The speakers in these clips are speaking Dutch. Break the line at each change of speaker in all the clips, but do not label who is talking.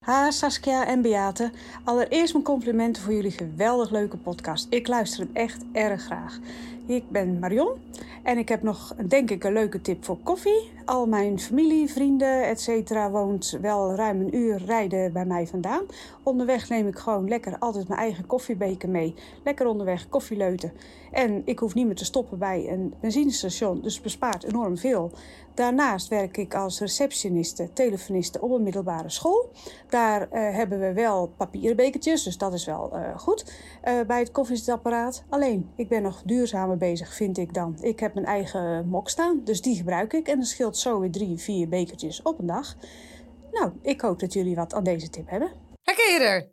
Ha, Saskia en Beate. Allereerst mijn complimenten voor jullie geweldig leuke podcast. Ik luister hem echt erg graag. Ik ben Marion en ik heb nog, denk ik, een leuke tip voor koffie. Al mijn familie, vrienden, etc. woont wel ruim een uur rijden bij mij vandaan. Onderweg neem ik gewoon lekker altijd mijn eigen koffiebeker mee. Lekker onderweg koffie leuten. En ik hoef niet meer te stoppen bij een benzinestation, dus het bespaart enorm veel. Daarnaast werk ik als receptioniste, telefoniste op een middelbare school. Daar eh, hebben we wel papieren bekertjes, dus dat is wel eh, goed eh, bij het koffiezetapparaat. Alleen, ik ben nog duurzamer bezig, vind ik dan. Ik heb mijn eigen mok staan, dus die gebruik ik. En dat scheelt zo weer drie, vier bekertjes op een dag. Nou, ik hoop dat jullie wat aan deze tip hebben.
Herken je er?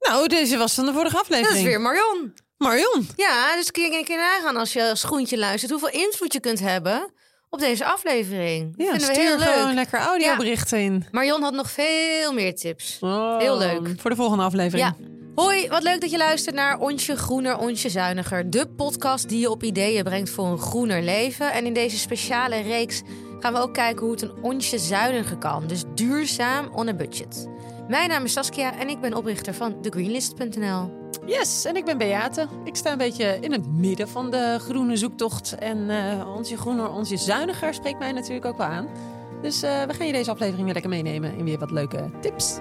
Nou, deze was van de vorige
Dat
aflevering.
is weer Marion.
Marion.
Ja, dus kun je een keer nagaan als je als groentje luistert hoeveel invloed je kunt hebben op deze aflevering. Dat
Ja,
vinden
stuur
we heel
gewoon
leuk.
lekker audioberichten in.
Marion had nog veel meer tips.
Oh,
Heel leuk.
Voor de volgende aflevering.
Ja. Hoi, wat leuk dat je luistert naar Onsje Groener, Onsje Zuiniger. De podcast die je op ideeën brengt voor een groener leven. En in deze speciale reeks gaan we ook kijken hoe het een onsje zuiniger kan. Dus duurzaam on a budget. Mijn naam is Saskia en ik ben oprichter van thegreenlist.nl.
Yes, en ik ben Beate. Ik sta een beetje in het midden van de groene zoektocht. En eh onze groener, onze zuiniger spreekt mij natuurlijk ook wel aan. Dus eh, we gaan je deze aflevering weer lekker meenemen in weer wat leuke tips.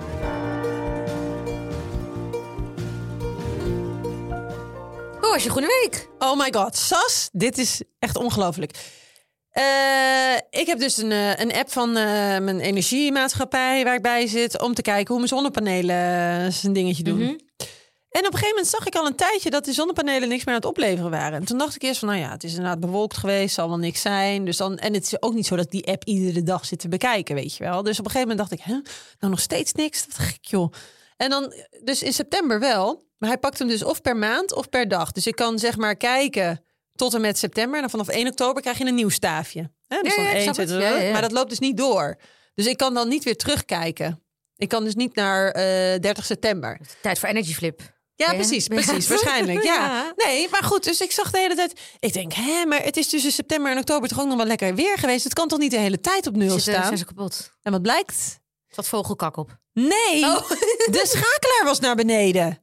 Hoe was je groene week?
Oh my god, Sas, dit is echt ongelooflijk. Eh, ik heb dus een, eh, een app van eh, mijn energiemaatschappij waar ik bij zit... om te kijken hoe mijn zonnepanelen zijn dingetje doen.
Mhm.
En op een gegeven moment zag ik al een tijdje dat die zonnepanelen niks meer aan het opleveren waren. En toen dacht ik eerst van, nou ja, het is inderdaad bewolkt geweest, zal wel niks zijn. Dus dan, en het is ook niet zo dat ik die app iedere dag zit te bekijken, weet je wel. Dus op een gegeven moment dacht ik, hè, nou nog steeds niks, wat gek joh. En dan, dus in september wel, maar hij pakt hem dus of per maand of per dag. Dus ik kan zeg maar kijken tot en met september. En dan vanaf 1 oktober krijg je een nieuw staafje. Hè,
Ja,
dus dan
ja, ik
1,
snap
2,
het. Ja, ja, ja.
Maar dat loopt dus niet door. Dus ik kan dan niet weer terugkijken. Ik kan dus niet naar eh 30 september.
Tijd voor Energy Flip.
Ja,
Ja.
precies,
Ja.
precies, waarschijnlijk. Ja.
Ja.
nee, maar goed, dus ik zag de hele tijd. Ik denk, hè, maar het is tussen september en oktober toch ook nog wel lekker weer geweest. Het kan toch niet de hele tijd op nul
Zitten,
staan?
zijn ze kapot.
En wat blijkt?
Zat vogelkak op.
Nee,
Oh.
de schakelaar was naar beneden.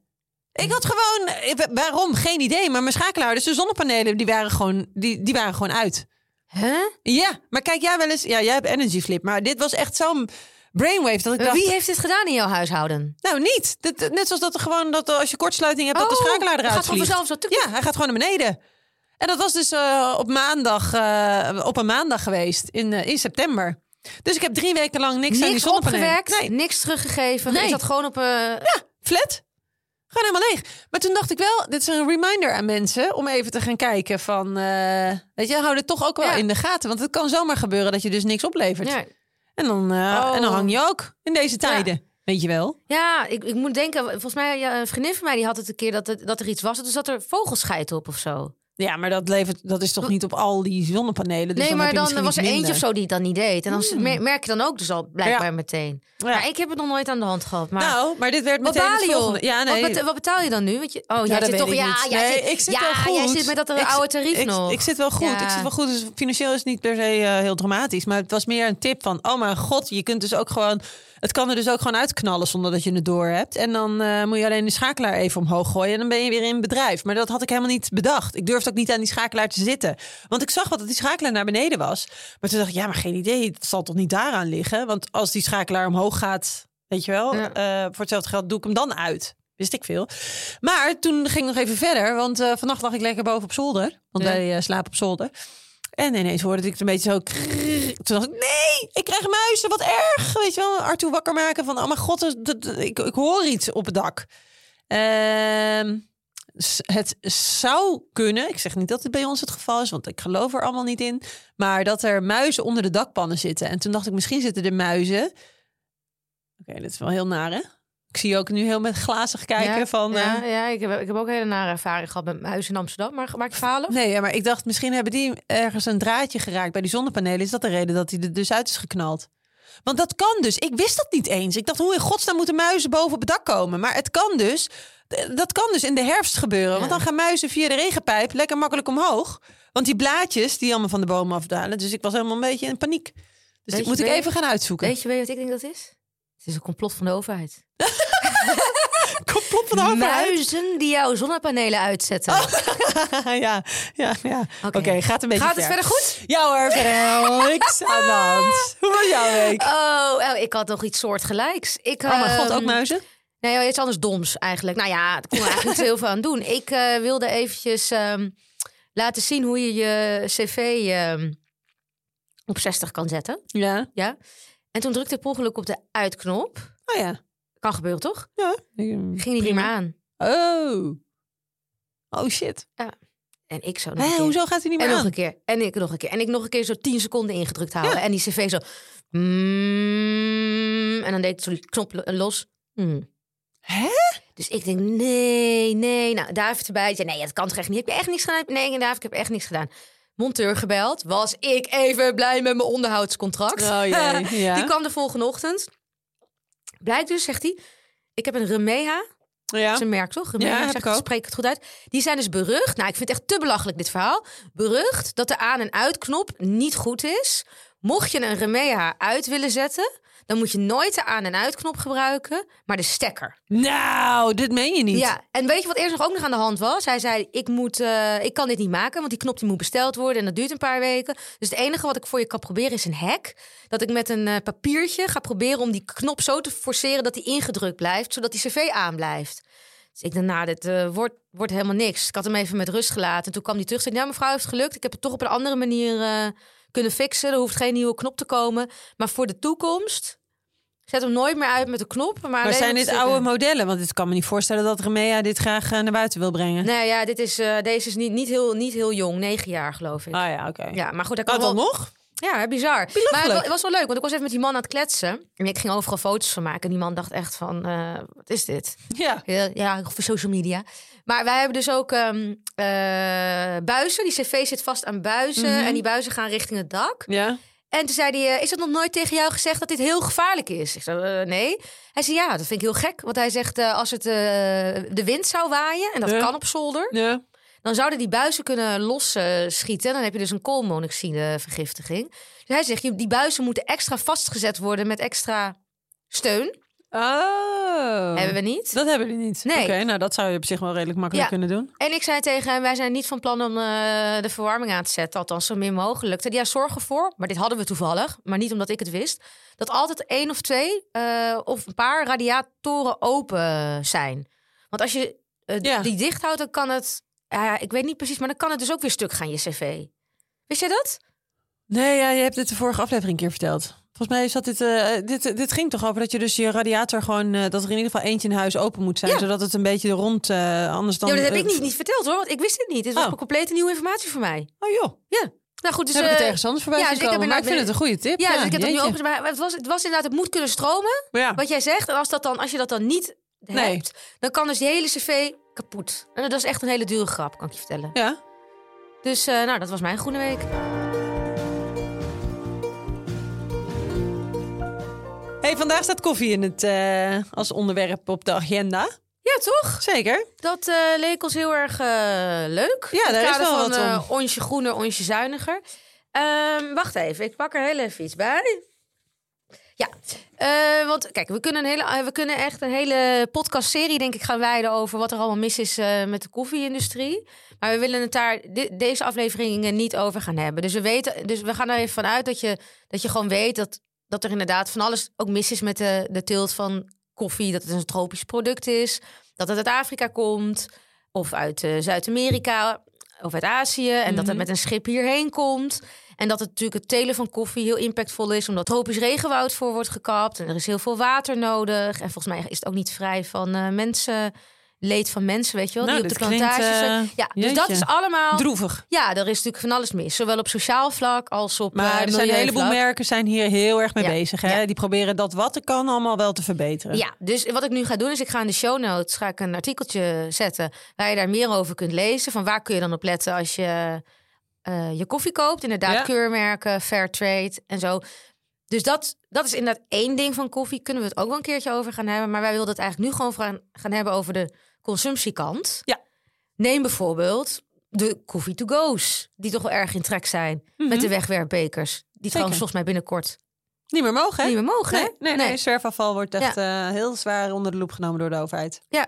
Ik had gewoon, eh, wa- waarom? Geen idee. Maar mijn schakelaar, dus de zonnepanelen, die waren gewoon, die, die waren gewoon uit.
Huh?
Ja, maar kijk jij wel eens, ja, jij hebt energy flip, maar dit was echt zo'n brainwave dat ik dacht.
Wie heeft dit gedaan in jouw huishouden?
Nou, niet. Dit- dit- net zoals dat er gewoon dat er als je kortsluiting hebt, dat de
Oh,
schakelaar
het
eruit
gaat gewoon
vliegt.
vanzelf zo, tuk,
Ja, hij gaat gewoon naar beneden. En dat was dus eh, op maandag, eh, op een maandag geweest in, eh, in september. Dus ik heb drie weken lang niks, aan die
niks
zonnepanelen.
opgewerkt,
Nee,
niks teruggegeven.
Nee.
Ik zat gewoon op... eh,
flat. Gewoon helemaal leeg. Maar toen dacht ik wel, dit is een reminder aan mensen om even te gaan kijken van, eh, weet je, hou dit toch ook wel
Ja.
in de gaten. Want het kan zomaar gebeuren dat je dus niks oplevert.
ja.
En, dan, eh,
Oh.
en dan hang je ook in deze tijden. Weet je wel?
Ja, ik, ik moet denken, volgens mij, ja, een vriendin van mij die had het een keer dat, het- dat er iets was. Dus dat er vogelscheit op of zo.
Ja, maar dat, levert, dat is toch niet op al die zonnepanelen? Dus
nee,
dan
maar
heb je
dan
misschien
was er
iets
eentje of
minder. Hmm.
zo die het dan niet deed. En dan s- mer- merk je dan ook dus al blijkbaar
Ja.
meteen.
Ja.
Maar ik heb het nog nooit aan de hand gehad. Maar
Nou, maar dit werd
wat
meteen het
balen joh?
volgende. Ja, nee.
wat, bet- wat betaal je dan nu? Want je, oh, jij
dat
zit
weet
toch...
ik
Ja,
niet.
jij
Nee,
zit,
ik zit
ja,
wel goed.
jij zit met dat
Ik-
oude tarief
ik,
nog.
Ik zit wel goed.
Ja.
Ik zit wel goed. Dus financieel is het niet per se eh, heel dramatisch. Maar het was meer een tip van... Oh mijn god, je kunt dus ook gewoon... Het kan er dus ook gewoon uitknallen zonder dat je het door hebt. En dan eh, moet je alleen de schakelaar even omhoog gooien. En dan ben je weer in bedrijf. Maar dat had ik helemaal niet bedacht. Ik durfde ook niet aan die schakelaar te zitten. Want ik zag wat dat die schakelaar naar beneden was. Maar toen dacht ik, ja, maar geen idee. Het zal toch niet daaraan liggen? Want als die schakelaar omhoog gaat... Weet je wel,
Ja.
eh, voor hetzelfde geld doe ik hem dan uit. Wist ik veel. Maar toen ging ik nog even verder. Want eh, vannacht lag ik lekker boven op zolder. Want
Ja.
wij eh, slapen op zolder. En ineens hoorde ik het een beetje zo... krrrr. Toen dacht ik, nee, ik krijg muizen, wat erg. Weet je wel, Arthur wakker maken van... Oh mijn god, dat- dat- ik, ik hoor iets op het dak. Ehm, s- het zou kunnen, ik zeg niet dat het bij ons het geval is... want ik geloof er allemaal niet in... maar dat er muizen onder de dakpannen zitten. En toen dacht ik, misschien zitten de muizen... Oké, dat is wel heel naar, hè? Ik zie je ook nu heel met glazig kijken
Ja,
van... eh,
Ja, ja ik, heb, ik heb ook hele nare ervaring gehad met mijn huis in Amsterdam. Maar maak ik falen?
Nee, ja, maar ik dacht misschien hebben die ergens een draadje geraakt bij die zonnepanelen. Is dat de reden dat hij er dus uit is geknald? Want dat kan dus. Ik wist dat niet eens. Ik dacht, hoe in godsnaam moeten muizen boven op het dak komen? Maar het kan dus. Dat kan dus in de herfst gebeuren. Want dan gaan muizen via de regenpijp lekker makkelijk omhoog. Want die blaadjes die allemaal van de bomen afdalen. Dus ik was helemaal een beetje in paniek. Dus
Weet
dit
je-
moet ik
weet-
even gaan uitzoeken.
Weet je, weet je wat ik denk dat is? Het Het is een complot van de overheid.
Complot van de overheid. Oh,
Muizen die jouw zonnepanelen uitzetten.
ja, ja, ja. Oké,
Oké.
gaat een beetje
Gaat
ver.
het verder goed?
Ja hoor, verder niks aan de hand. Hoe was jouw week?
Oh, oh, ik had nog iets soortgelijks. Ik,
Oh mijn god,
ehm,
ook muizen?
Nee, iets anders doms eigenlijk. Nou ja, daar kon er eigenlijk niet heel veel aan doen. Ik eh, wilde eventjes ehm, laten zien hoe je je cv ehm, op 60 kan zetten.
Ja.
Ja. En toen drukte ik per ongeluk op de uitknop.
Oh ja. ehm,
Kan gebeuren, toch?
ja.
Ging die niet meer aan.
Oh. Oh shit.
En ik zo nog een
Hé,
keer.
hoezo gaat hij niet
En
meer
nog
aan?
een keer. En ik nog een keer. En ik nog een keer zo 10 seconden ingedrukt houden. En die cv zo... mm, en dan deed ik zo die knop lo- los. Mm.
Hè?
Dus ik denk, nee, nee. Nou, David erbij. Die zei, nee, dat kan toch echt niet. Heb je echt niks gedaan? Nee, David, ik heb echt niks gedaan. Monteur gebeld. Was ik even blij met mijn onderhoudscontract.
Oh jee, ja.
Die kwam de volgende ochtend. Blijkt dus, zegt hij... Ik heb een Remeha.
Ja.
Dat is een merk, toch?
Ja,
ja,
heb
zeg,
ik ook.
Spreek ik het goed uit? Die zijn dus berucht. Nou, ik vind het echt te belachelijk, dit verhaal. Berucht dat de aan- en uitknop niet goed is. Mocht je een Remea uit willen zetten, dan moet je nooit de aan- en uitknop gebruiken, maar de stekker.
Nou, dit meen je niet.
Ja, en weet je wat eerst nog ook nog aan de hand was? Hij zei, ik, moet, eh, ik kan dit niet maken, want die knop die moet besteld worden en dat duurt een paar weken. Dus het enige wat ik voor je kan proberen is een hack. Dat ik met een eh, papiertje ga proberen om die knop zo te forceren dat die ingedrukt blijft, zodat die cv aan blijft. Dus ik dacht, nou, dit eh, wordt, wordt helemaal niks. Ik had hem even met rust gelaten. En toen kwam hij terug en zei, ja, mevrouw heeft gelukt. Ik heb het toch op een andere manier eh, kunnen fixen. Er hoeft geen nieuwe knop te komen. Maar voor de toekomst, zet hem nooit meer uit met de knop. Maar, alleen
Maar zijn
met
dit
de-
oude modellen? Want ik kan me niet voorstellen dat Remea dit graag eh, naar buiten wil brengen.
Nee, ja, dit is, eh, deze is niet, niet, heel, niet heel jong. Negen jaar, geloof ik.
Ah ja, oké.
Ja, maar goed, dat
Kan
kan
het dan
wel...
nog?
Ja, bizar. Maar het
Belachelijk.
wa- het was wel leuk, want ik was even met die man aan het kletsen. En ik ging overal foto's van maken. En die man dacht echt van, eh, wat is dit?
Ja.
Ja, Ja, voor social media. Maar wij hebben dus ook ehm, eh, buizen. Die cv zit vast aan buizen. En die buizen gaan richting het dak.
Ja.
En toen zei hij, eh, is dat nog nooit tegen jou gezegd dat dit heel gevaarlijk is? Ik zei, eh, nee. Hij zei, ja, dat vind ik heel gek. Want hij zegt, eh, als het eh, de wind zou waaien, en dat
Ja.
kan op zolder...
Ja.
dan zouden die buizen kunnen losschieten. Dan heb je dus een koolmonoxidevergiftiging. Dus hij zegt, die buizen moeten extra vastgezet worden met extra steun.
Oh.
Hebben we niet.
Dat hebben jullie niet.
Nee.
Oké, nou dat zou je op zich wel redelijk makkelijk
Ja.
kunnen doen.
En ik zei tegen hem, wij zijn niet van plan om eh, de verwarming aan te zetten. Althans, zo min mogelijk. Toen, ja, zorg ervoor, maar dit hadden we toevallig. Maar niet omdat ik het wist. Dat altijd één of twee eh, of een paar radiatoren open zijn. Want als je eh,
Ja.
die dicht houdt, dan kan het... ja, ik weet niet precies, maar dan kan het dus ook weer stuk gaan, je cv. Wist jij dat?
Nee, ja, je hebt dit de vorige aflevering een keer verteld. Volgens mij is dat dit, eh, dit, dit ging toch over dat je dus je radiator gewoon, eh, dat er in ieder geval eentje in huis open moet zijn,
Ja.
zodat het een beetje rond, eh, anders dan.
ja, maar dat heb
eh,
ik niet, niet verteld hoor, want ik wist dit niet. Dit was
Oh.
een complete nieuwe informatie voor mij.
Oh joh,
Ja. Nou goed, dus...
heb ik het
eh,
ergens anders voorbij
ja,
ja,
dus ik heb
gekomen. maar ik
inderdaad
vind het een goede tip.
ja, dus ik heb dat nu
jeetje.
ook. Maar het was, het was inderdaad, het moet kunnen stromen,
Ja.
wat jij zegt. En als, dat dan, als je dat dan niet
Nee.
hebt, dan kan dus die hele cv kapot. En dat is echt een hele dure grap, kan ik je vertellen.
ja.
Dus eh, nou, dat was mijn groene week.
Hey, vandaag staat koffie in het, eh, als onderwerp op de agenda.
Ja, toch?
Zeker.
Dat eh, leek ons heel erg eh, leuk.
Ja,
In het
daar is
kader
wel
van,
wat
eh, onsje groener, onsje zuiniger. Ehm, wacht even, ik pak er heel even iets bij. Ja, eh, want kijk, we kunnen, een hele, eh, we kunnen echt een hele podcastserie, denk ik, gaan wijden over wat er allemaal mis is eh, met de koffie-industrie. Maar we willen het daar di- deze afleveringen niet over gaan hebben. Dus we, weten, dus we gaan er even vanuit dat je, dat je gewoon weet dat, dat er inderdaad van alles ook mis is met de, de teelt van koffie. Dat het een tropisch product is, dat het uit Afrika komt of uit eh, Zuid-Amerika of uit Azië. En dat
Mhm.
het met een schip hierheen komt. En dat het natuurlijk het telen van koffie heel impactvol is, omdat tropisch regenwoud voor wordt gekapt. En er is heel veel water nodig. En volgens mij is het ook niet vrij van eh, mensen. Leed van mensen, weet je wel,
Nou,
die op de
dit klinkt,
plantages. eh,
eh,
ja, dus dat
jeetje.
is allemaal.
Droevig.
Ja, er is natuurlijk van alles mis. Zowel op sociaal vlak als op.
Maar
eh,
er zijn een heleboel
milieuvlak.
merken zijn hier heel erg mee
Ja.
bezig. Hè?
Ja.
Die proberen dat wat er kan allemaal wel te verbeteren.
Ja, dus wat ik nu ga doen is ik ga in de show notes ga ik een artikeltje zetten waar je daar meer over kunt lezen. Van waar kun je dan op letten als je eh, je koffie koopt. Inderdaad,
Ja.
keurmerken, fair trade en zo. Dus dat, dat is inderdaad één ding van koffie. Kunnen we het ook wel een keertje over gaan hebben. Maar wij wilden het eigenlijk nu gewoon gaan, gaan hebben over de consumptiekant.
Ja.
Neem bijvoorbeeld de koffie
Mhm.
to go's. Die toch wel erg in trek zijn. Met de wegwerpbekers. Die trouwens volgens mij binnenkort
Niet meer mogen, hè?
niet meer mogen. hè?
Nee, nee, nee, zwerfafval wordt echt eh, heel zwaar onder de loep genomen door de overheid.
Ja.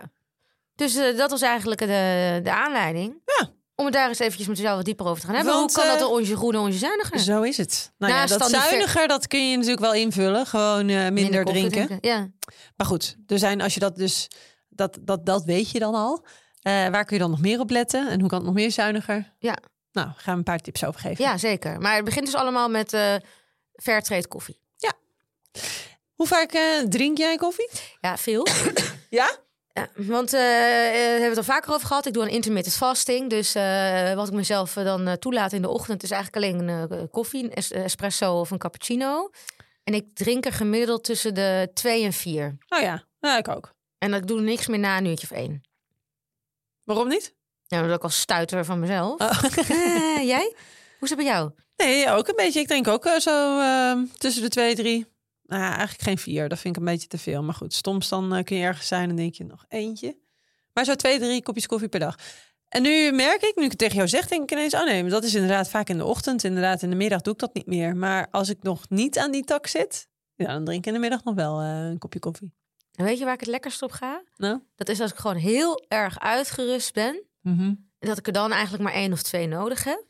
Dus eh, dat was eigenlijk de, de aanleiding.
Ja.
Om het daar eens eventjes met jezelf wat dieper over te gaan hebben.
Want,
Hoe kan dat
eh,
een onsje groene, onsje zuiniger?
Zo is het. Nou ja,
Naast
dat
dan die ver-
zuiniger, dat kun je natuurlijk wel invullen. Gewoon eh, minder,
koffie
drinken.
Ja.
Maar goed, er zijn als je dat dus, dat, dat, dat weet je dan al. Eh, waar kun je dan nog meer op letten? En hoe kan het nog meer zuiniger?
Ja.
Nou, gaan we een paar tips over geven.
ja, zeker. Maar het begint dus allemaal met eh fairtrade koffie.
Hoe vaak eh, drink jij koffie?
Ja, veel.
Ja?
Ja, want eh, eh, we hebben het al vaker over gehad. Ik doe een intermittent fasting. Dus eh, wat ik mezelf eh, dan eh, toelaat in de ochtend is eigenlijk alleen eh, koffie, een es- espresso of een cappuccino. En ik drink er gemiddeld tussen de twee en vier.
Oh ja, nou, ik ook.
En ik doe niks meer na een uurtje of één.
Waarom niet?
Ja, omdat ik al stuiter van mezelf. Eh, jij? Hoe is het bij jou?
Nee, ook een beetje. Ik denk ook eh, zo ehm, tussen de twee, drie. Nou, ja, eigenlijk geen vier. Dat vind ik een beetje te veel. Maar goed, soms dan eh, kun je ergens zijn en denk je nog eentje. Maar zo twee, drie kopjes koffie per dag. En nu merk ik, nu ik het tegen jou zeg, denk ik ineens... oh nee, maar dat is inderdaad vaak in de ochtend. Inderdaad, in de middag doe ik dat niet meer. Maar als ik nog niet aan die tak zit... Ja, dan drink ik in de middag nog wel eh, een kopje koffie.
En weet je waar ik het lekkerst op ga?
Nou?
Dat is als ik gewoon heel erg uitgerust ben.
Hmm.
En dat ik er dan eigenlijk maar één of twee nodig heb.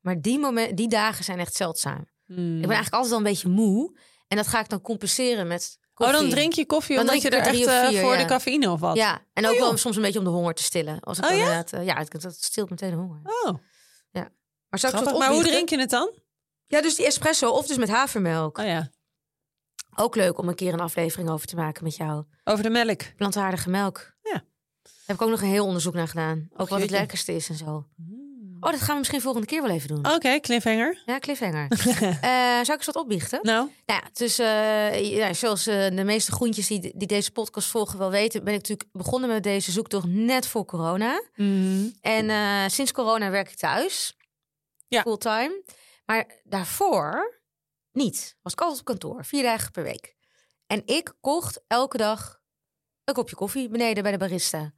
Maar die, momen- die dagen zijn echt zeldzaam.
Hmm.
Ik ben eigenlijk altijd al een beetje moe. En dat ga ik dan compenseren met
Oh,
koffie.
dan drink je koffie
Dan
omdat je
drink
er
ik er
echt
drie of
eh,
vier,
voor
ja.
de cafeïne of wat?
Ja, en ook
Oh, joh.
wel soms een beetje om de honger te stillen. Als ik
Oh,
dan
ja?
inderdaad, eh, ja, het- dat stilt meteen de honger.
Oh,
Maar, zou ik
grappig.
soort
maar hoe
opbiechten?
drink je het dan?
Ja, dus die espresso of dus met havermelk.
Oh ja,
Ook leuk om een keer een aflevering over te maken met jou.
over de melk.
Plantaardige melk.
Ja.
Daar heb ik ook nog een heel onderzoek naar gedaan. Ook wat het
jeetje.
lekkerste is en zo. Oh, dat gaan we misschien volgende keer wel even doen.
Oké, cliffhanger.
Ja, cliffhanger. Eh, zou ik eens wat opbiechten?
Nou,
Nou ja, dus eh, ja, zoals eh, de meeste groentjes die, die deze podcast volgen wel weten, ben ik natuurlijk begonnen met deze zoektocht net voor corona. En eh, sinds corona werk ik thuis.
Ja.
Fulltime. Maar daarvoor niet. Was ik altijd op kantoor, vier dagen per week. En ik kocht elke dag een kopje koffie beneden bij de barista.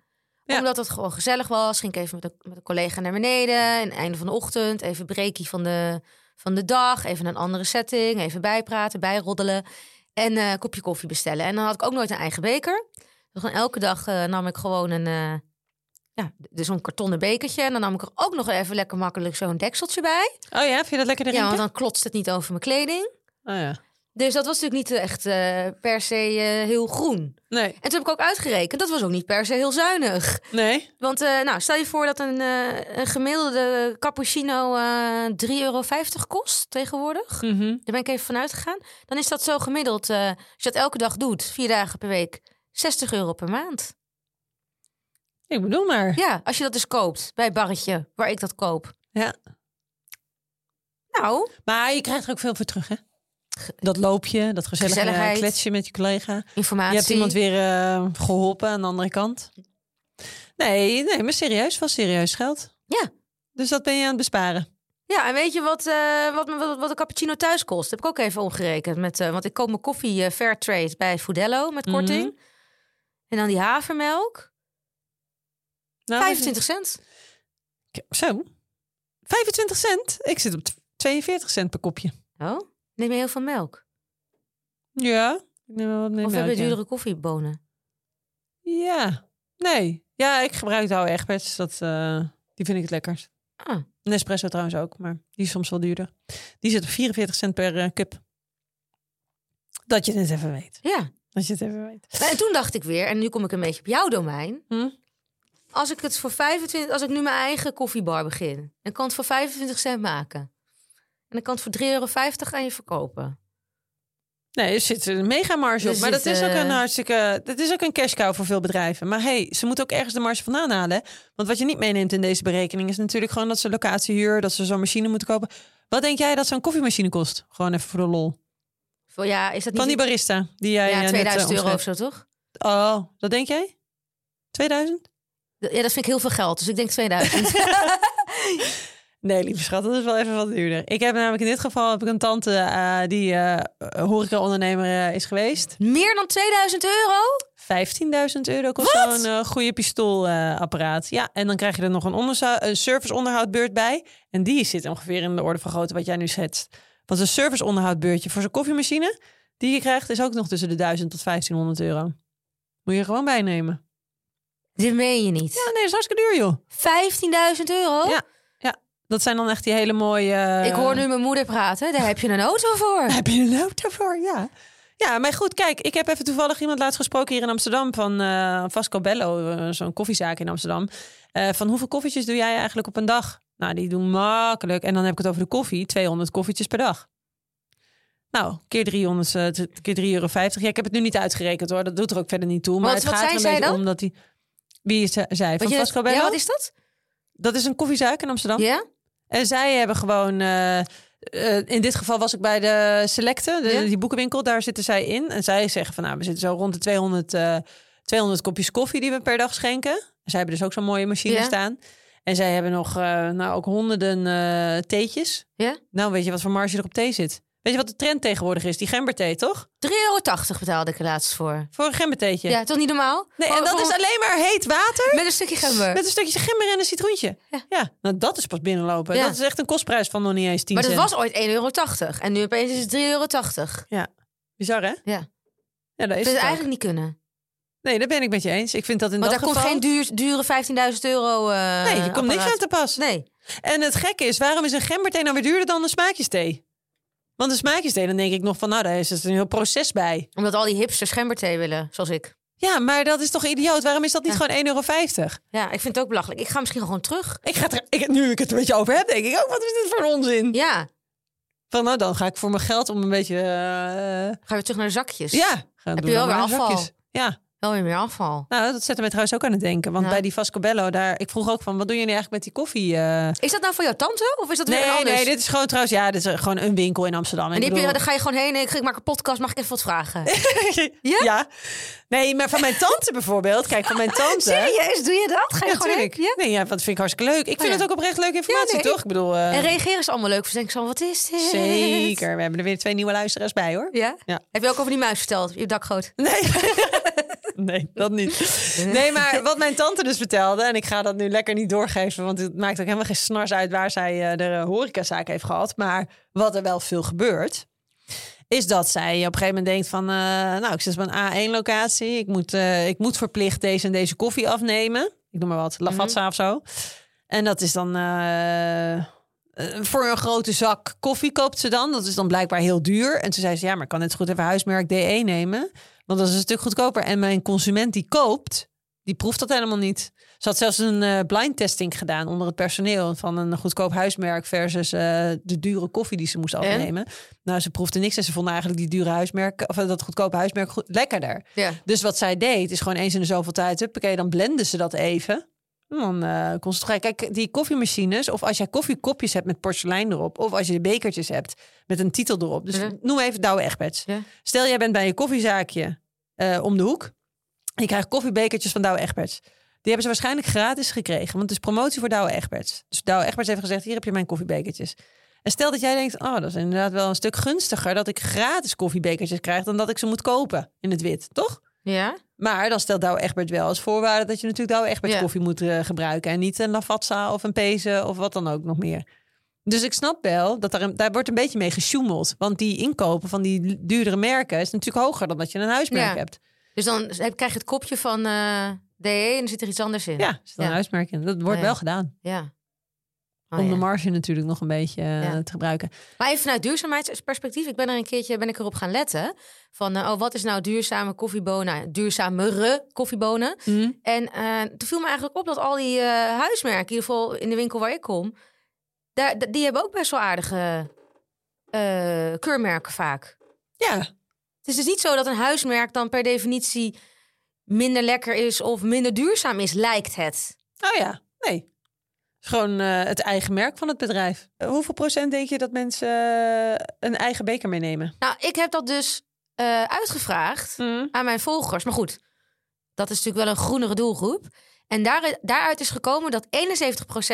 Ja.
Omdat het gewoon gezellig was. Ging ik even met een, met een collega naar beneden. En einde van de ochtend, even breakie van de, van de dag. Even een andere setting, even bijpraten, bijroddelen. En eh, een kopje koffie bestellen. En dan had ik ook nooit een eigen beker. Dus gewoon elke dag eh, nam ik gewoon een... eh, ja, d- zo'n kartonnen bekertje. En dan nam ik er ook nog even lekker makkelijk zo'n dekseltje bij.
Oh ja, vind je dat lekker
Ja,
drinken?
want dan klotst het niet over mijn kleding.
Oh ja.
Dus dat was natuurlijk niet echt eh, per se eh, heel groen.
Nee,
En toen heb ik ook uitgerekend, dat was ook niet per se heel zuinig.
nee.
Want eh, nou, stel je voor dat een, eh, een gemiddelde cappuccino eh 3,50 euro kost tegenwoordig.
Mhm.
Daar ben ik even vanuit gegaan. Dan is dat zo gemiddeld, eh, als je dat elke dag doet, vier dagen per week, 60 euro per maand.
Ik bedoel maar.
Ja, als je dat dus koopt bij het barretje waar ik dat koop.
Ja.
Nou,
Maar je krijgt er ook veel voor terug, hè? Dat loopje, dat gezellige
Gezelligheid.
kletsje met je collega.
informatie.
Je hebt iemand weer eh, geholpen aan de andere kant. Nee, nee, maar serieus, van serieus geld.
Ja.
Dus dat ben je aan het besparen.
Ja, en weet je wat, eh, wat, me- wat, wat een cappuccino thuis kost? Heb ik ook even omgerekend. Met, eh, want ik koop mijn koffie eh, Fairtrade bij Foodello met
Mhm.
korting. En dan die
Oh,
havermelk.
Nou,
25 cent.
Zo. 25 cent? Ik zit op tw- 42 cent per kopje.
Oh, neem je heel veel melk?
Ja. Ik neem wel wat meer
of
melk,
hebben we
ja.
duurdere koffiebonen?
Ja, nee. Ja, ik gebruik de oude Egberts. Dat, eh, die vind ik het lekkerst.
Ah.
Nespresso trouwens ook, maar die is soms wel duurder. Die zit op 44 cent per eh, cup. Dat je het even weet.
Ja.
Dat je het even weet.
Nou, En toen dacht ik weer, en nu kom ik een beetje op jouw domein.
Hm?
Als ik het voor 25, als ik nu mijn eigen koffiebar begin, dan kan het voor 25 cent maken. En dan kan het voor 3,50 euro aan je verkopen.
Nee, er zit een mega marge
Er
op. Maar dat
zit,
is ook een
eh,
hartstikke. Dat is ook een cash cow voor veel bedrijven. Maar hey, ze moeten ook ergens de marge vandaan halen. hè? Want wat je niet meeneemt in deze berekening is natuurlijk gewoon dat ze locatiehuur, dat ze zo'n machine moeten kopen. Wat denk jij dat zo'n koffiemachine kost? Gewoon even voor de lol.
Voor- Ja, is dat niet
Van die barista die jij. eh,
ja,
net, eh,
2000 euro
omschreef.
of zo, toch?
Oh, dat denk jij? 2000?
Ja, dat vind ik heel veel geld. Dus ik denk 2000.
Nee, lieve schat, dat is wel even wat duurder. Ik heb namelijk in dit geval heb ik een tante eh, die eh horeca-ondernemer eh, is geweest.
Meer dan 2000 euro?
15.000 euro kost zo'n eh, goede pistoolapparaat. ja, en dan krijg je er nog een, onderzo- een serviceonderhoudbeurt bij. En die zit ongeveer in de orde van grootte wat jij nu schetst. Want een serviceonderhoudbeurtje voor zo'n koffiemachine die je krijgt, is ook nog tussen de 1000 tot 1500 euro. Moet je er gewoon bijnemen.
Dit meen je niet.
Ja, nee, dat is hartstikke duur, joh.
15.000 euro?
Ja. Dat zijn dan echt die hele mooie. eh,
Ik hoor nu mijn moeder praten. Daar heb je een auto voor.
Heb je een auto voor? Ja. Ja, maar goed, kijk, ik heb even toevallig iemand laatst gesproken hier in Amsterdam van eh Vasco Bello, eh, zo'n koffiezaak in Amsterdam. Eh, van hoeveel koffietjes doe jij eigenlijk op een dag? Nou, die doen makkelijk. En dan heb ik het over de koffie, 200 koffietjes per dag. Nou, keer 300, eh, t- keer 3,50 euro. Ja, ik heb het nu niet uitgerekend hoor, dat doet er ook verder niet toe. Maar,
wat-
het
wat
gaat
zei
er een
zij
beetje
dan?
om dat die... Wie is zij? Van
Wat je-
Vasco Bello? Oh.
ja, wat is dat?
Dat is een koffiezaak in Amsterdam.
Ja?
En zij hebben gewoon. eh, eh, in dit geval was ik bij de Selecte, de-
Ja.
die boekenwinkel. Daar zitten zij in. En zij zeggen van nou, we zitten zo rond de 200, eh, 200 kopjes koffie die we per dag schenken. Zij hebben dus ook zo'n mooie machine
Ja.
staan. En zij hebben nog eh, nou, ook honderden eh theetjes.
Ja.
Nou, weet je wat voor marge er op thee zit? Weet je wat de trend tegenwoordig is? Die gemberthee, toch?
3,80 euro betaalde ik er laatst voor.
Voor een gembertheetje.
Ja, toch niet normaal?
Nee, en
Voor-
dat
voor-
is alleen maar heet water.
Met een stukje gember.
Met een stukje gember en een citroentje. Ja, nou dat is pas binnenlopen.
Ja.
Dat is echt een kostprijs van nog niet eens 10
Maar dat
cent.
was ooit 1,80 euro. En nu opeens is het 3,80 euro.
Ja, bizar hè?
Ja.
Ja, dat is
Dat zou
het
eigenlijk niet kunnen.
ook. Nee, daar ben ik met je eens. Ik vind dat in
Want
dat
daar komt
geval...
geen duur, dure 15.000 euro eh
Nee, je komt niks
apparaat.
aan te pas.
Nee.
En het gekke is, waarom is een gemberthee nou weer duurder dan een smaakjesthee? Want een smaakjesthee, dan denk ik nog van, nou, daar is het een heel proces bij.
Omdat al die hipsters gemberthee willen, zoals ik.
Ja, maar dat is toch idioot? Waarom is dat niet gewoon 1,50 euro?
Ja, ik vind het ook belachelijk. Ik ga misschien gewoon terug.
Ik ga er, ik, nu ik het er met je over heb, denk ik ook, wat is dit voor onzin?
Ja,
Van, nou, dan ga ik voor mijn geld om een beetje... eh,
ga weer terug naar de zakjes.
ja, gaan
Heb
doen
je wel
dan
weer
maar in
afval?
zakjes. Ja,
Wel weer meer afval.
nou, dat zette mij trouwens ook aan het denken. Want
Ja.
bij die Vascobello, daar, ik vroeg ook van, wat doen jullie eigenlijk met die koffie? eh,
Is dat nou voor jouw tante? Of is dat weer een
Nee,
anders?
nee, dit is gewoon trouwens, ja, dit is gewoon een winkel in Amsterdam.
En
Ik
die heb je,
bedoel-
dan ga je gewoon heen. Ik, ik maak een podcast. Mag ik even wat vragen?
ja? Nee, maar van mijn tante bijvoorbeeld. Kijk, van mijn tante.
Serieus, doe je dat? Ga je
Ja,
gewoon heen? Oh
natuurlijk. Nee, ja, dat vind ik hartstikke leuk. Ik vind
ja.
het ook oprecht leuke informatie,
Ja, nee,
toch? Ik bedoel, eh,
En reageren ze allemaal leuk? Of denk ik zo, wat is dit?
zeker. We hebben er weer twee nieuwe luisteraars bij, hoor.
Ja?
Ja.
Heb je ook over die muis verteld? Je dakgoot.
Nee. nee, dat niet. Nee, maar wat mijn tante dus vertelde, en ik ga dat nu lekker niet doorgeven, want het maakt ook helemaal geen snars uit waar zij eh, de eh, horecazaak heeft gehad. Maar wat er wel veel gebeurt, is dat zij op een gegeven moment denkt van, eh, nou, ik zit op een A1-locatie, ik, moet, eh ik moet verplicht deze en deze koffie afnemen. Ik noem maar wat, Lavazza of zo. En dat is dan... eh, eh, voor een grote zak koffie koopt ze dan. Dat is dan blijkbaar heel duur. En toen zei ze, ja, maar ik kan net zo goed even huismerk DE nemen. Want dat is een stuk goedkoper. En mijn consument die koopt, die proeft dat helemaal niet. Ze had zelfs een eh blind testing gedaan onder het personeel. Van een goedkoop huismerk versus eh, de dure koffie die ze moest afnemen. Nou, ze proefde niks en ze vonden eigenlijk die dure huismerk, of eh, dat goedkope huismerk goed, lekkerder.
Ja.
Dus wat zij deed, is gewoon eens in de zoveel tijd, huppakee, dan blenden ze dat even. En Dan eh kon ze het gebruiken. Kijk, die koffiemachines, of als jij koffiekopjes hebt met porselein erop, of als je bekertjes hebt met een titel erop. Dus
Ja.
noem even Douwe Egberts.
Ja.
Stel, jij bent bij je koffiezaakje eh, om de hoek. Je krijgt koffiebekertjes van Douwe Egberts. Die hebben ze waarschijnlijk gratis gekregen, want het is promotie voor Douwe Egberts. Dus Douwe Egberts heeft gezegd, hier heb je mijn koffiebekertjes. En stel dat jij denkt, oh, dat is inderdaad wel een stuk gunstiger dat ik gratis koffiebekertjes krijg dan dat ik ze moet kopen in het wit, toch?
Ja?
Maar dan stelt Douwe Egbert wel als voorwaarde dat je natuurlijk Douwe Egbert
Ja.
koffie moet eh, gebruiken. En niet een Lavazza of een Pezen of wat dan ook nog meer. Dus ik snap wel dat daar, een- daar wordt een beetje mee gesjoemeld. Want die inkopen van die duurdere merken is natuurlijk hoger dan dat je een huismerk
Ja.
hebt.
Dus dan heb- krijg je het kopje van eh, DE en er zit er iets anders in.
Ja, er zit een
Ja.
huismerk in. Dat wordt
Ja.
wel gedaan.
Ja. Oh,
om
ja.
de marge natuurlijk nog een beetje eh,
Ja.
te gebruiken.
Maar even vanuit duurzaamheidsperspectief. Ik ben er een keertje ben ik erop gaan letten. Van, eh, oh, wat is nou duurzame koffiebonen? Duurzamere koffiebonen.
Hm?
En eh, toen viel me eigenlijk op dat al die eh, huismerken, in ieder geval in de winkel waar ik kom, daar, d- die hebben ook best wel aardige eh, keurmerken vaak.
Ja,
Het is dus niet zo dat een huismerk dan per definitie minder lekker is of minder duurzaam is, lijkt het.
oh ja, nee. Het is Gewoon eh, het eigen merk van het bedrijf. Eh, Hoeveel procent denk je dat mensen eh, een eigen beker meenemen?
Nou, ik heb dat dus eh, uitgevraagd
Hm?
aan mijn volgers. Maar goed, dat is natuurlijk wel een groenere doelgroep. En daar, daaruit is gekomen dat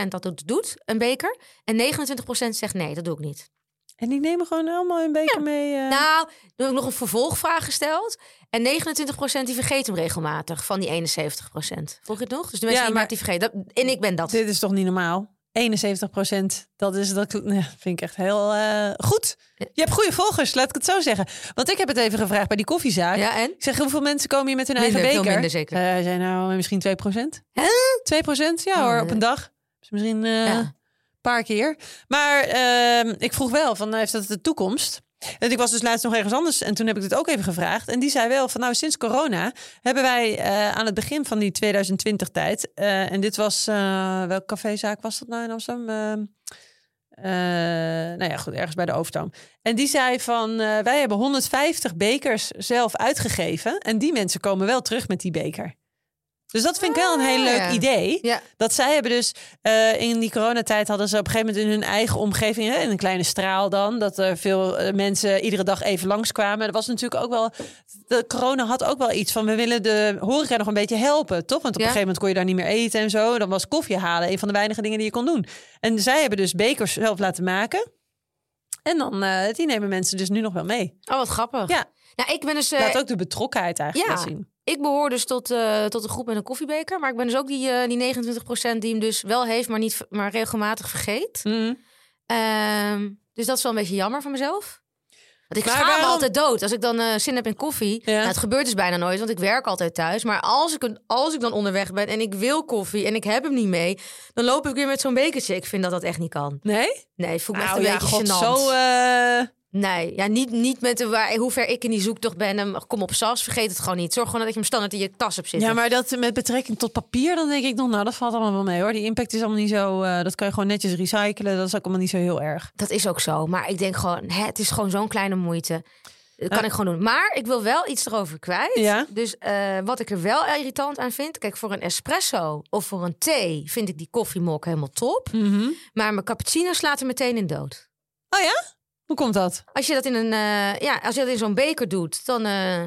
71% dat het doet, een beker. En 29% zegt nee, dat doe ik niet.
En die nemen gewoon allemaal hun beker mee. eh.
Nou, toen heb ik nog een vervolgvraag gesteld. En 29% die vergeet hem regelmatig van die 71%. Volg je het nog? Dus de mensen
Ja,
die
maar-
maar... die vergeten. Dat, en ik ben dat.
Dit is toch niet normaal? 71 procent. Dat is dat nou, vind ik echt heel eh, goed. Je hebt goede volgers, laat ik het zo zeggen. Want ik heb het even gevraagd bij die koffiezaak.
Ja, en?
Ik zeg, hoeveel mensen komen hier met hun
Minder,
eigen
veel
beker?
minder zeker.
Zij zei, nou, misschien 2 procent.
Hè?
2 procent? Ja
Oh,
hoor,
nee.
op een dag. Dus misschien eh,
Ja.
een paar keer. Maar ehm, ik vroeg wel, van, heeft dat de toekomst? En ik was dus laatst nog ergens anders en toen heb ik dit ook even gevraagd. En die zei wel van nou, sinds corona hebben wij eh, aan het begin van die 2020-tijd... eh, en dit was, eh welke cafézaak was dat nou in Amsterdam? Ehm, eh, nou ja, goed, ergens bij de Overtoom. En die zei van, eh, wij hebben 150 bekers zelf uitgegeven. En die mensen komen wel terug met die beker. Dus dat vind ik wel een heel
Ah,
leuk
ja.
idee.
Ja.
Dat zij hebben dus eh, in die coronatijd hadden ze op een gegeven moment in hun eigen omgeving, hè, in een kleine straal dan, dat er veel eh, mensen iedere dag even langskwamen. Dat was natuurlijk ook wel, de corona had ook wel iets van, we willen de horeca nog een beetje helpen, toch? Want op
Ja.
een gegeven moment kon je daar niet meer eten en zo. Dan was koffie halen een van de weinige dingen die je kon doen. En zij hebben dus bekers zelf laten maken. En dan, eh, die nemen mensen dus nu nog wel mee.
Oh, wat grappig.
Ja.
Nou, ik ben dus... eh,
Laat ook de betrokkenheid eigenlijk
ja.
wel zien.
Ik behoor dus tot, eh, tot een groep met een koffiebeker. Maar ik ben dus ook die, eh, die 29% die hem dus wel heeft, maar, niet, maar regelmatig vergeet.
Mhm.
Ehm, dus dat is wel een beetje jammer van mezelf. Want ik
Maar
schaam me
waarom-
altijd dood. Als ik dan eh, zin heb in koffie.
Ja.
Nou, het gebeurt dus bijna nooit, want ik werk altijd thuis. Maar als ik, een- als ik dan onderweg ben en ik wil koffie en ik heb hem niet mee... dan loop ik weer met zo'n bekertje. Ik vind dat dat echt niet kan.
Nee?
Nee, voel ik me
Nou
echt een
ja,
beetje
god,
gênant.
zo... eh,
Nee, ja, niet, niet met de waar, hoe ver ik in die zoektocht ben. En kom op sas, vergeet het gewoon niet. Zorg gewoon dat je hem standaard in je tas hebt zitten.
Ja, maar dat met betrekking tot papier, dan denk ik nog, nou, dat valt allemaal wel mee hoor. Die impact is allemaal niet zo. eh, dat kan je gewoon netjes recyclen. Dat is ook allemaal niet zo heel erg.
Dat is ook zo. Maar ik denk gewoon, hè, het is gewoon zo'n kleine moeite. Dat kan
Ja.
ik gewoon doen. Maar ik wil wel iets erover kwijt.
Ja.
Dus eh, wat ik er wel irritant aan vind... Kijk, voor een espresso of voor een thee vind ik die koffiemok helemaal top. Maar mijn cappuccino slaat er meteen in dood.
Oh ja? Hoe komt dat?
Als je dat in, een, eh, ja, als je dat in zo'n beker doet, dan... eh,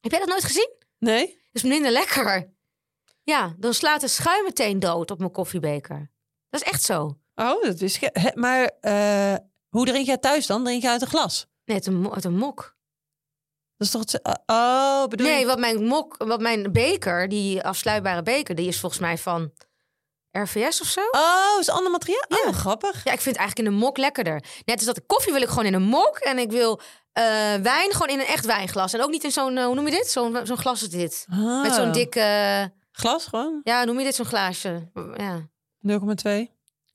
heb jij dat nooit gezien?
Nee?
Dat is minder lekker. Ja, dan slaat de schuim meteen dood op mijn koffiebeker. Dat is echt zo.
Oh, dat wist ik. Hè, maar eh, hoe drink jij thuis dan? Drink je uit een glas?
Nee, uit een, mo- uit een mok.
Dat is toch het. Oh, bedoel
nee,
je?
wat mijn mok, wat mijn beker, die afsluitbare beker, die is volgens mij van RVS of zo.
Oh, is ander materiaal?
Ja.
Oh, grappig.
Ja, ik vind het eigenlijk in een mok lekkerder. Net als dat ik koffie wil ik gewoon in een mok en ik wil eh, wijn gewoon in een echt wijnglas en ook niet in zo'n eh, hoe noem je dit? Zo'n zo'n glas is dit. Met
Ah.
zo'n dikke,
Glas gewoon.
ja, hoe noem je dit zo'n glaasje? Ja.
0,2.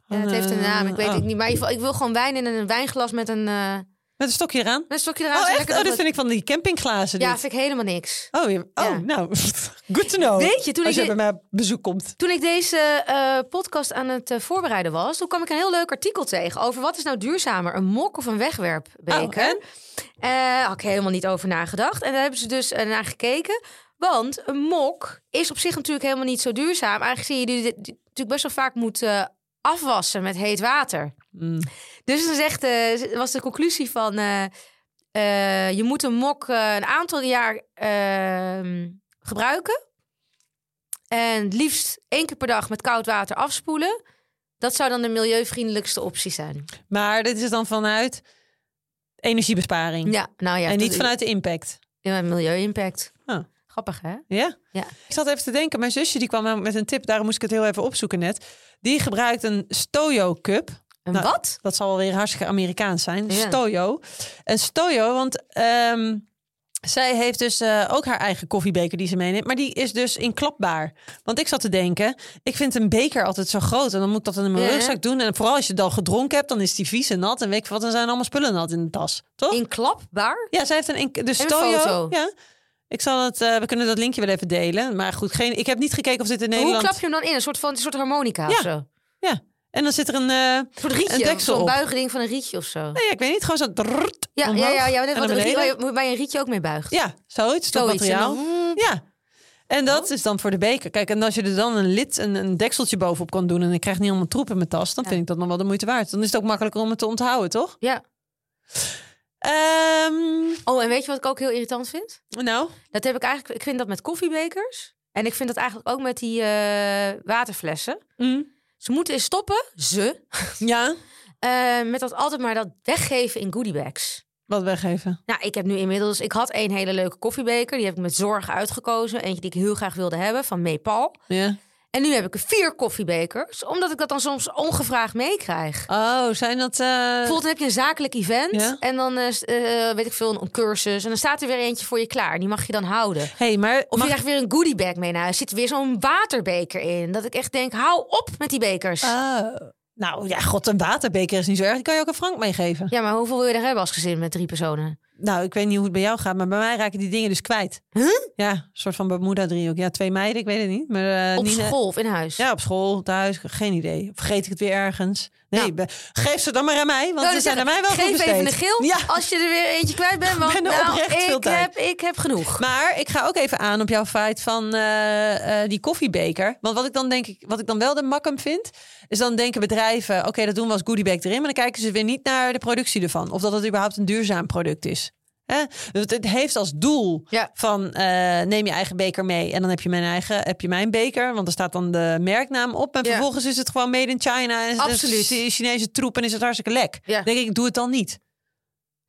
Ja, het heeft een naam, ik weet
Oh.
het niet. Maar in ieder geval, ik wil gewoon wijn in een wijnglas met een, eh, met
Met een stokje eraan.
een stokje eraan.
Oh,
zo
echt?
lekker
Oh,
dat
dit
het-
vind ik van die campingglazen.
Ja,
dit.
vind ik helemaal niks.
Oh, je- oh
Ja.
nou, good to know.
Weet je, toen
Als
ik dit-
je bij mij op bezoek komt.
Toen ik deze eh, podcast aan het eh, voorbereiden was, toen kwam ik een heel leuk artikel tegen over wat is nou duurzamer, een mok of een
Oh,
wegwerpbeker.
en?
Eh, had ik helemaal niet over nagedacht. En daar hebben ze dus eh, naar gekeken. Want een mok is op zich natuurlijk helemaal niet zo duurzaam. Eigenlijk zie je die dit- die natuurlijk best wel vaak moet eh, afwassen met heet water.
Mm.
Dus dan zegt, eh, was de conclusie van... eh, eh, je moet een mok eh, een aantal jaar ehm, gebruiken. En het liefst één keer per dag met koud water afspoelen. Dat zou dan de milieuvriendelijkste optie zijn.
Maar dit is dan vanuit energiebesparing.
Ja, nou ja.
en
dat-
niet vanuit Oh. de impact.
Ja, milieu-impact.
Ja.
Grappig, hè?
Ja?
Ja.
Ik zat even te denken. Mijn zusje die kwam met een tip. Daarom moest ik het heel even opzoeken net. Die gebruikt een Stojo cup.
Een
Nou,
wat?
Dat zal wel weer hartstikke Amerikaans zijn.
Ja.
Stojo. Een Stojo, want ehm, zij heeft dus eh, ook haar eigen koffiebeker die ze meeneemt. Maar die is dus inklapbaar. Want ik zat te denken, ik vind een beker altijd zo groot. En dan moet ik dat in mijn
Ja.
rugzak doen. En vooral als je het al gedronken hebt, dan is die vies en nat. En weet ik wat, dan zijn allemaal spullen nat in de tas. Toch?
Inklapbaar?
Ja, zij heeft een enkele. Dus
En een
Toyo-
foto.
Ja. Ik zal het, eh, we kunnen dat linkje wel even delen. Maar goed, geen, ik heb niet gekeken of dit in
Hoe
Nederland.
klap je hem dan in? Een soort, van, een soort harmonica of
Ja.
zo? Een
Ja. En dan zit er een. eh,
soort
Een
rietje.
deksel
Zo'n
op.
buiging van een rietje of zo.
nee, ik weet niet, gewoon zo. drrrt
Ja, ja,
omhoog
ja, ja.
en
Net
naar
wat een rietje, waar
beneden.
je- waar je een rietje ook mee buigt.
Ja, zoiets. Dat
Zoiets. En
materiaal.
dan- Oh.
Ja. En dat is dan voor de beker. Kijk, en als je er dan een lid, een, een dekseltje bovenop kan doen. en ik krijg niet allemaal troep in mijn tas. dan
Ja.
vind ik dat nog wel de moeite waard. Dan is het ook makkelijker om het te onthouden, toch?
ja.
Ehm,
Oh, en weet je wat ik ook heel irritant vind?
nou,
Dat heb ik eigenlijk. Ik vind dat met koffiebekers. En ik vind dat eigenlijk ook met die eh, waterflessen.
mm,
Ze moeten eens stoppen, ze,
ja,
eh, met dat altijd maar dat weggeven in goodiebags.
wat weggeven.
Nou, ik heb nu inmiddels. Ik had één hele leuke koffiebeker. Die heb ik met zorg uitgekozen. Eentje die ik heel graag wilde hebben van Nepal.
Ja.
En nu heb ik vier koffiebekers, omdat ik dat dan soms ongevraagd meekrijg.
Oh, zijn dat... eh,
Bijvoorbeeld dan heb je een zakelijk event
Ja.
en dan eh, s- eh, weet ik veel, een- een cursus. En dan staat er weer eentje voor je klaar. Die mag je dan houden.
hey, maar
Of
mag-
je krijgt weer een goodiebag mee naar huis. Zit weer zo'n waterbeker in. Dat ik echt denk, hou op met die bekers.
Oh. Nou ja, god, een waterbeker is niet zo erg. Die kan je ook een frank meegeven.
Ja, maar hoeveel wil je er hebben als gezin met drie personen?
Nou, ik weet niet hoe het bij jou gaat, maar bij mij raken die dingen dus kwijt.
Huh?
Ja, een soort van Bermuda-driehoek. Ja, twee meiden, ik weet het niet. Maar, eh,
Op
Nina-
school of in huis?
Ja, op school, thuis, geen idee. Vergeet ik het weer ergens? Nee,
Nou.
be- geef ze dan maar aan mij, want
Nou,
ze
dan
zijn aan
zeg
mij
ik,
wel goed
Geef even een
besteed.
geel
Ja,
als je er weer eentje kwijt bent. Want
Bijna
nou,
oprecht veel
ik,
tijd.
heb, ik heb genoeg.
maar ik ga ook even aan op jouw feit van eh, eh, die koffiebeker. Want wat ik dan denk ik, wat ik dan wel de makkum vind, is dan denken bedrijven, oké, dat doen we als goodiebag erin, maar dan kijken ze weer niet naar de productie ervan, of dat het überhaupt een duurzaam product is. Hè? Want Het heeft als doel
Ja.
van eh, neem je eigen beker mee en dan heb je mijn eigen, heb je mijn beker, want er staat dan de merknaam op en
Ja.
vervolgens is het gewoon made in China en is het een
Absoluut.
Chi- Chinese troep en is het hartstikke lek.
Ja.
Denk ik, doe het dan niet.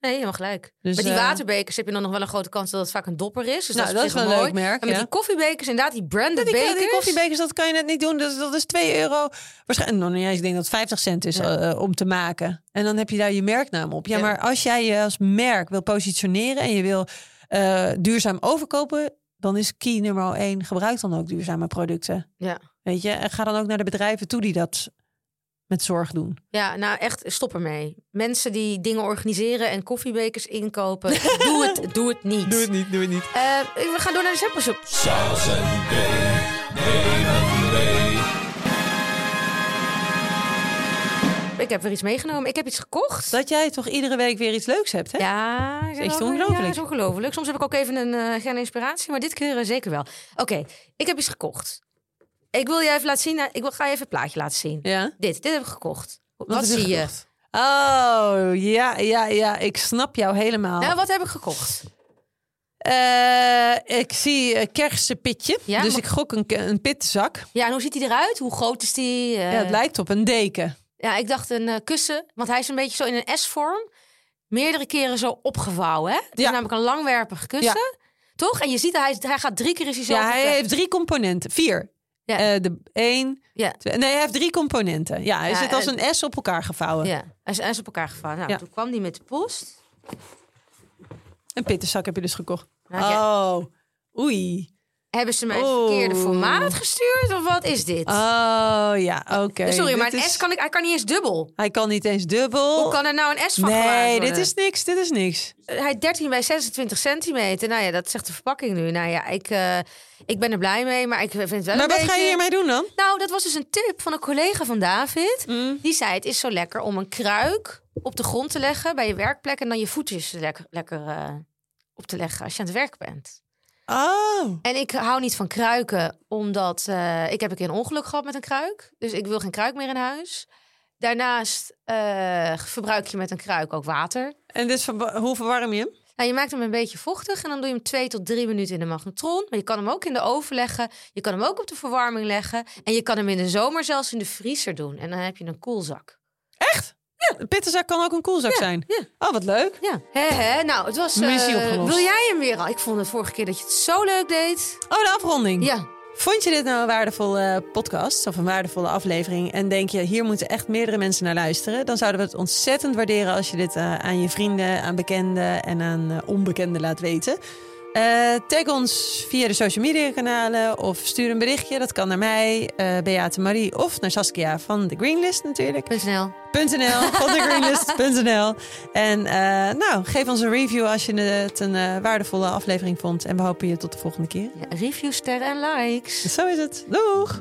Nee, helemaal gelijk.
Dus,
met die
eh,
waterbekers heb je dan nog wel een grote kans dat het vaak een dopper is. Dus
Nou,
dat is, op
dat is
zich
wel een
mooi.
leuk merk,
En met
ja.
die koffiebekers, inderdaad, die branded
Ja, die,
bekers.
die koffiebekers, dat kan je net niet doen. Dat, dat is 2 euro. Waarschijnlijk nog niet eens. Ik denk dat het 50 cent is
Ja.
eh, om te maken. En dan heb je daar je merknaam op. Ja,
Ja.
maar als jij je als merk wil positioneren en je wil eh, duurzaam overkopen, dan is key nummer 1 gebruik dan ook duurzame producten.
Ja.
Weet je, en ga dan ook naar de bedrijven toe die dat met zorg doen.
Ja, nou echt, stop ermee. Mensen die dingen organiseren en koffiebekers inkopen, doe het, doe het niet.
niet, doe het niet.
Eh, we gaan door naar de samplesoep. Ik heb weer iets meegenomen. Ik heb iets gekocht.
Dat jij toch iedere week weer iets leuks hebt, hè?
Ja, is
echt ongelooflijk.
is ongelooflijk. Soms heb ik ook even een, eh, geen inspiratie, maar dit keer eh, zeker wel. Oké, ik heb iets gekocht. Ik wil je even laten zien. eh, Ik wil, ga je even een plaatje laten zien.
Ja?
Dit, dit heb ik gekocht. Wat,
heb
zie je?
gekocht? Oh, ja, ja, ja. Ik snap jou helemaal.
Nou, wat heb ik gekocht?
Eh, ik zie een kersenpitje.
Ja,
dus
maar-
ik gok een, ke- een pitzak.
Ja, en hoe ziet hij eruit? Hoe groot is die? Eh,
ja, het lijkt op een deken.
Ja, ik dacht een eh, kussen, want hij is een beetje zo in een S-vorm. Meerdere keren zo opgevouwen. Hè? Het is
Ja.
namelijk een langwerpig kussen. Toch? En je ziet, hij, hij gaat drie keer is hij zo.
Ja,
op de
hij
plek.
heeft drie componenten. Vier.
Ja.
Eh, de één.
Ja.
twee- nee, hij heeft drie componenten. Ja, hij
Ja,
zit als
en-
een S op elkaar gevouwen.
Ja, hij is, hij is op elkaar gevallen. Nou,
Ja.
toen kwam hij met de post.
Een pittenzak heb je dus gekocht.
Nou, ja,
Oh, oei.
Hebben ze mij het
Oh.
verkeerde formaat gestuurd? Of wat is dit?
Oh, ja, oké.
Sorry, maar
Dit
een
is-
S kan ik, hij kan niet eens dubbel.
Hij kan niet eens dubbel.
Hoe kan er nou een S van gemaakt
nee,
worden?
dit is niks, dit is niks.
Hij 13 bij 26 centimeter. Nou ja, dat zegt de verpakking nu. Nou ja, ik, eh, ik ben er blij mee, maar ik vind het wel
Maar
een
wat ga
beetje-
je hiermee doen dan?
Nou, dat was dus een tip van een collega van David. Die zei: Het is zo lekker om een kruik op de grond te leggen bij je werkplek. En dan je voetjes lekker, lekker eh, op te leggen als je aan het werk bent.
Oh,
En ik hou niet van kruiken, omdat eh, ik heb een keer een ongeluk gehad met een kruik. Dus ik wil geen kruik meer in huis. Daarnaast eh, verbruik je met een kruik ook water.
en dus van, hoe verwarm je hem?
Nou, je maakt hem een beetje vochtig en dan doe je hem twee tot drie minuten in de magnetron. Maar je kan hem ook in de oven leggen. Je kan hem ook op de verwarming leggen. En je kan hem in de zomer zelfs in de vriezer doen. En dan heb je een koelzak.
Echt? Ja, een pittenzak kan ook een koelzak zijn.
ja.
Oh, wat leuk.
Ja. Hè, hè. Nou, het was... eh,
Missie opgelost.
wil jij hem weer al? Ik vond het vorige keer dat je het zo leuk deed.
Oh, de afronding.
Ja.
Vond je dit nou een waardevolle podcast of een waardevolle aflevering? En denk je, hier moeten echt meerdere mensen naar luisteren? Dan zouden we het ontzettend waarderen als je dit eh, aan je vrienden, aan bekenden en aan eh, onbekenden laat weten. Eh, tag ons via de social media kanalen of stuur een berichtje. Dat kan naar mij, eh Beate Marie of naar Saskia van de Greenlist natuurlijk.
Punt NL.
.nl, van de greenlist.nl. En eh, nou, geef ons een review als je het een eh, waardevolle aflevering vond. En we hopen je tot de volgende keer.
Ja, Reviews, sterren en likes.
Zo is het. Doeg!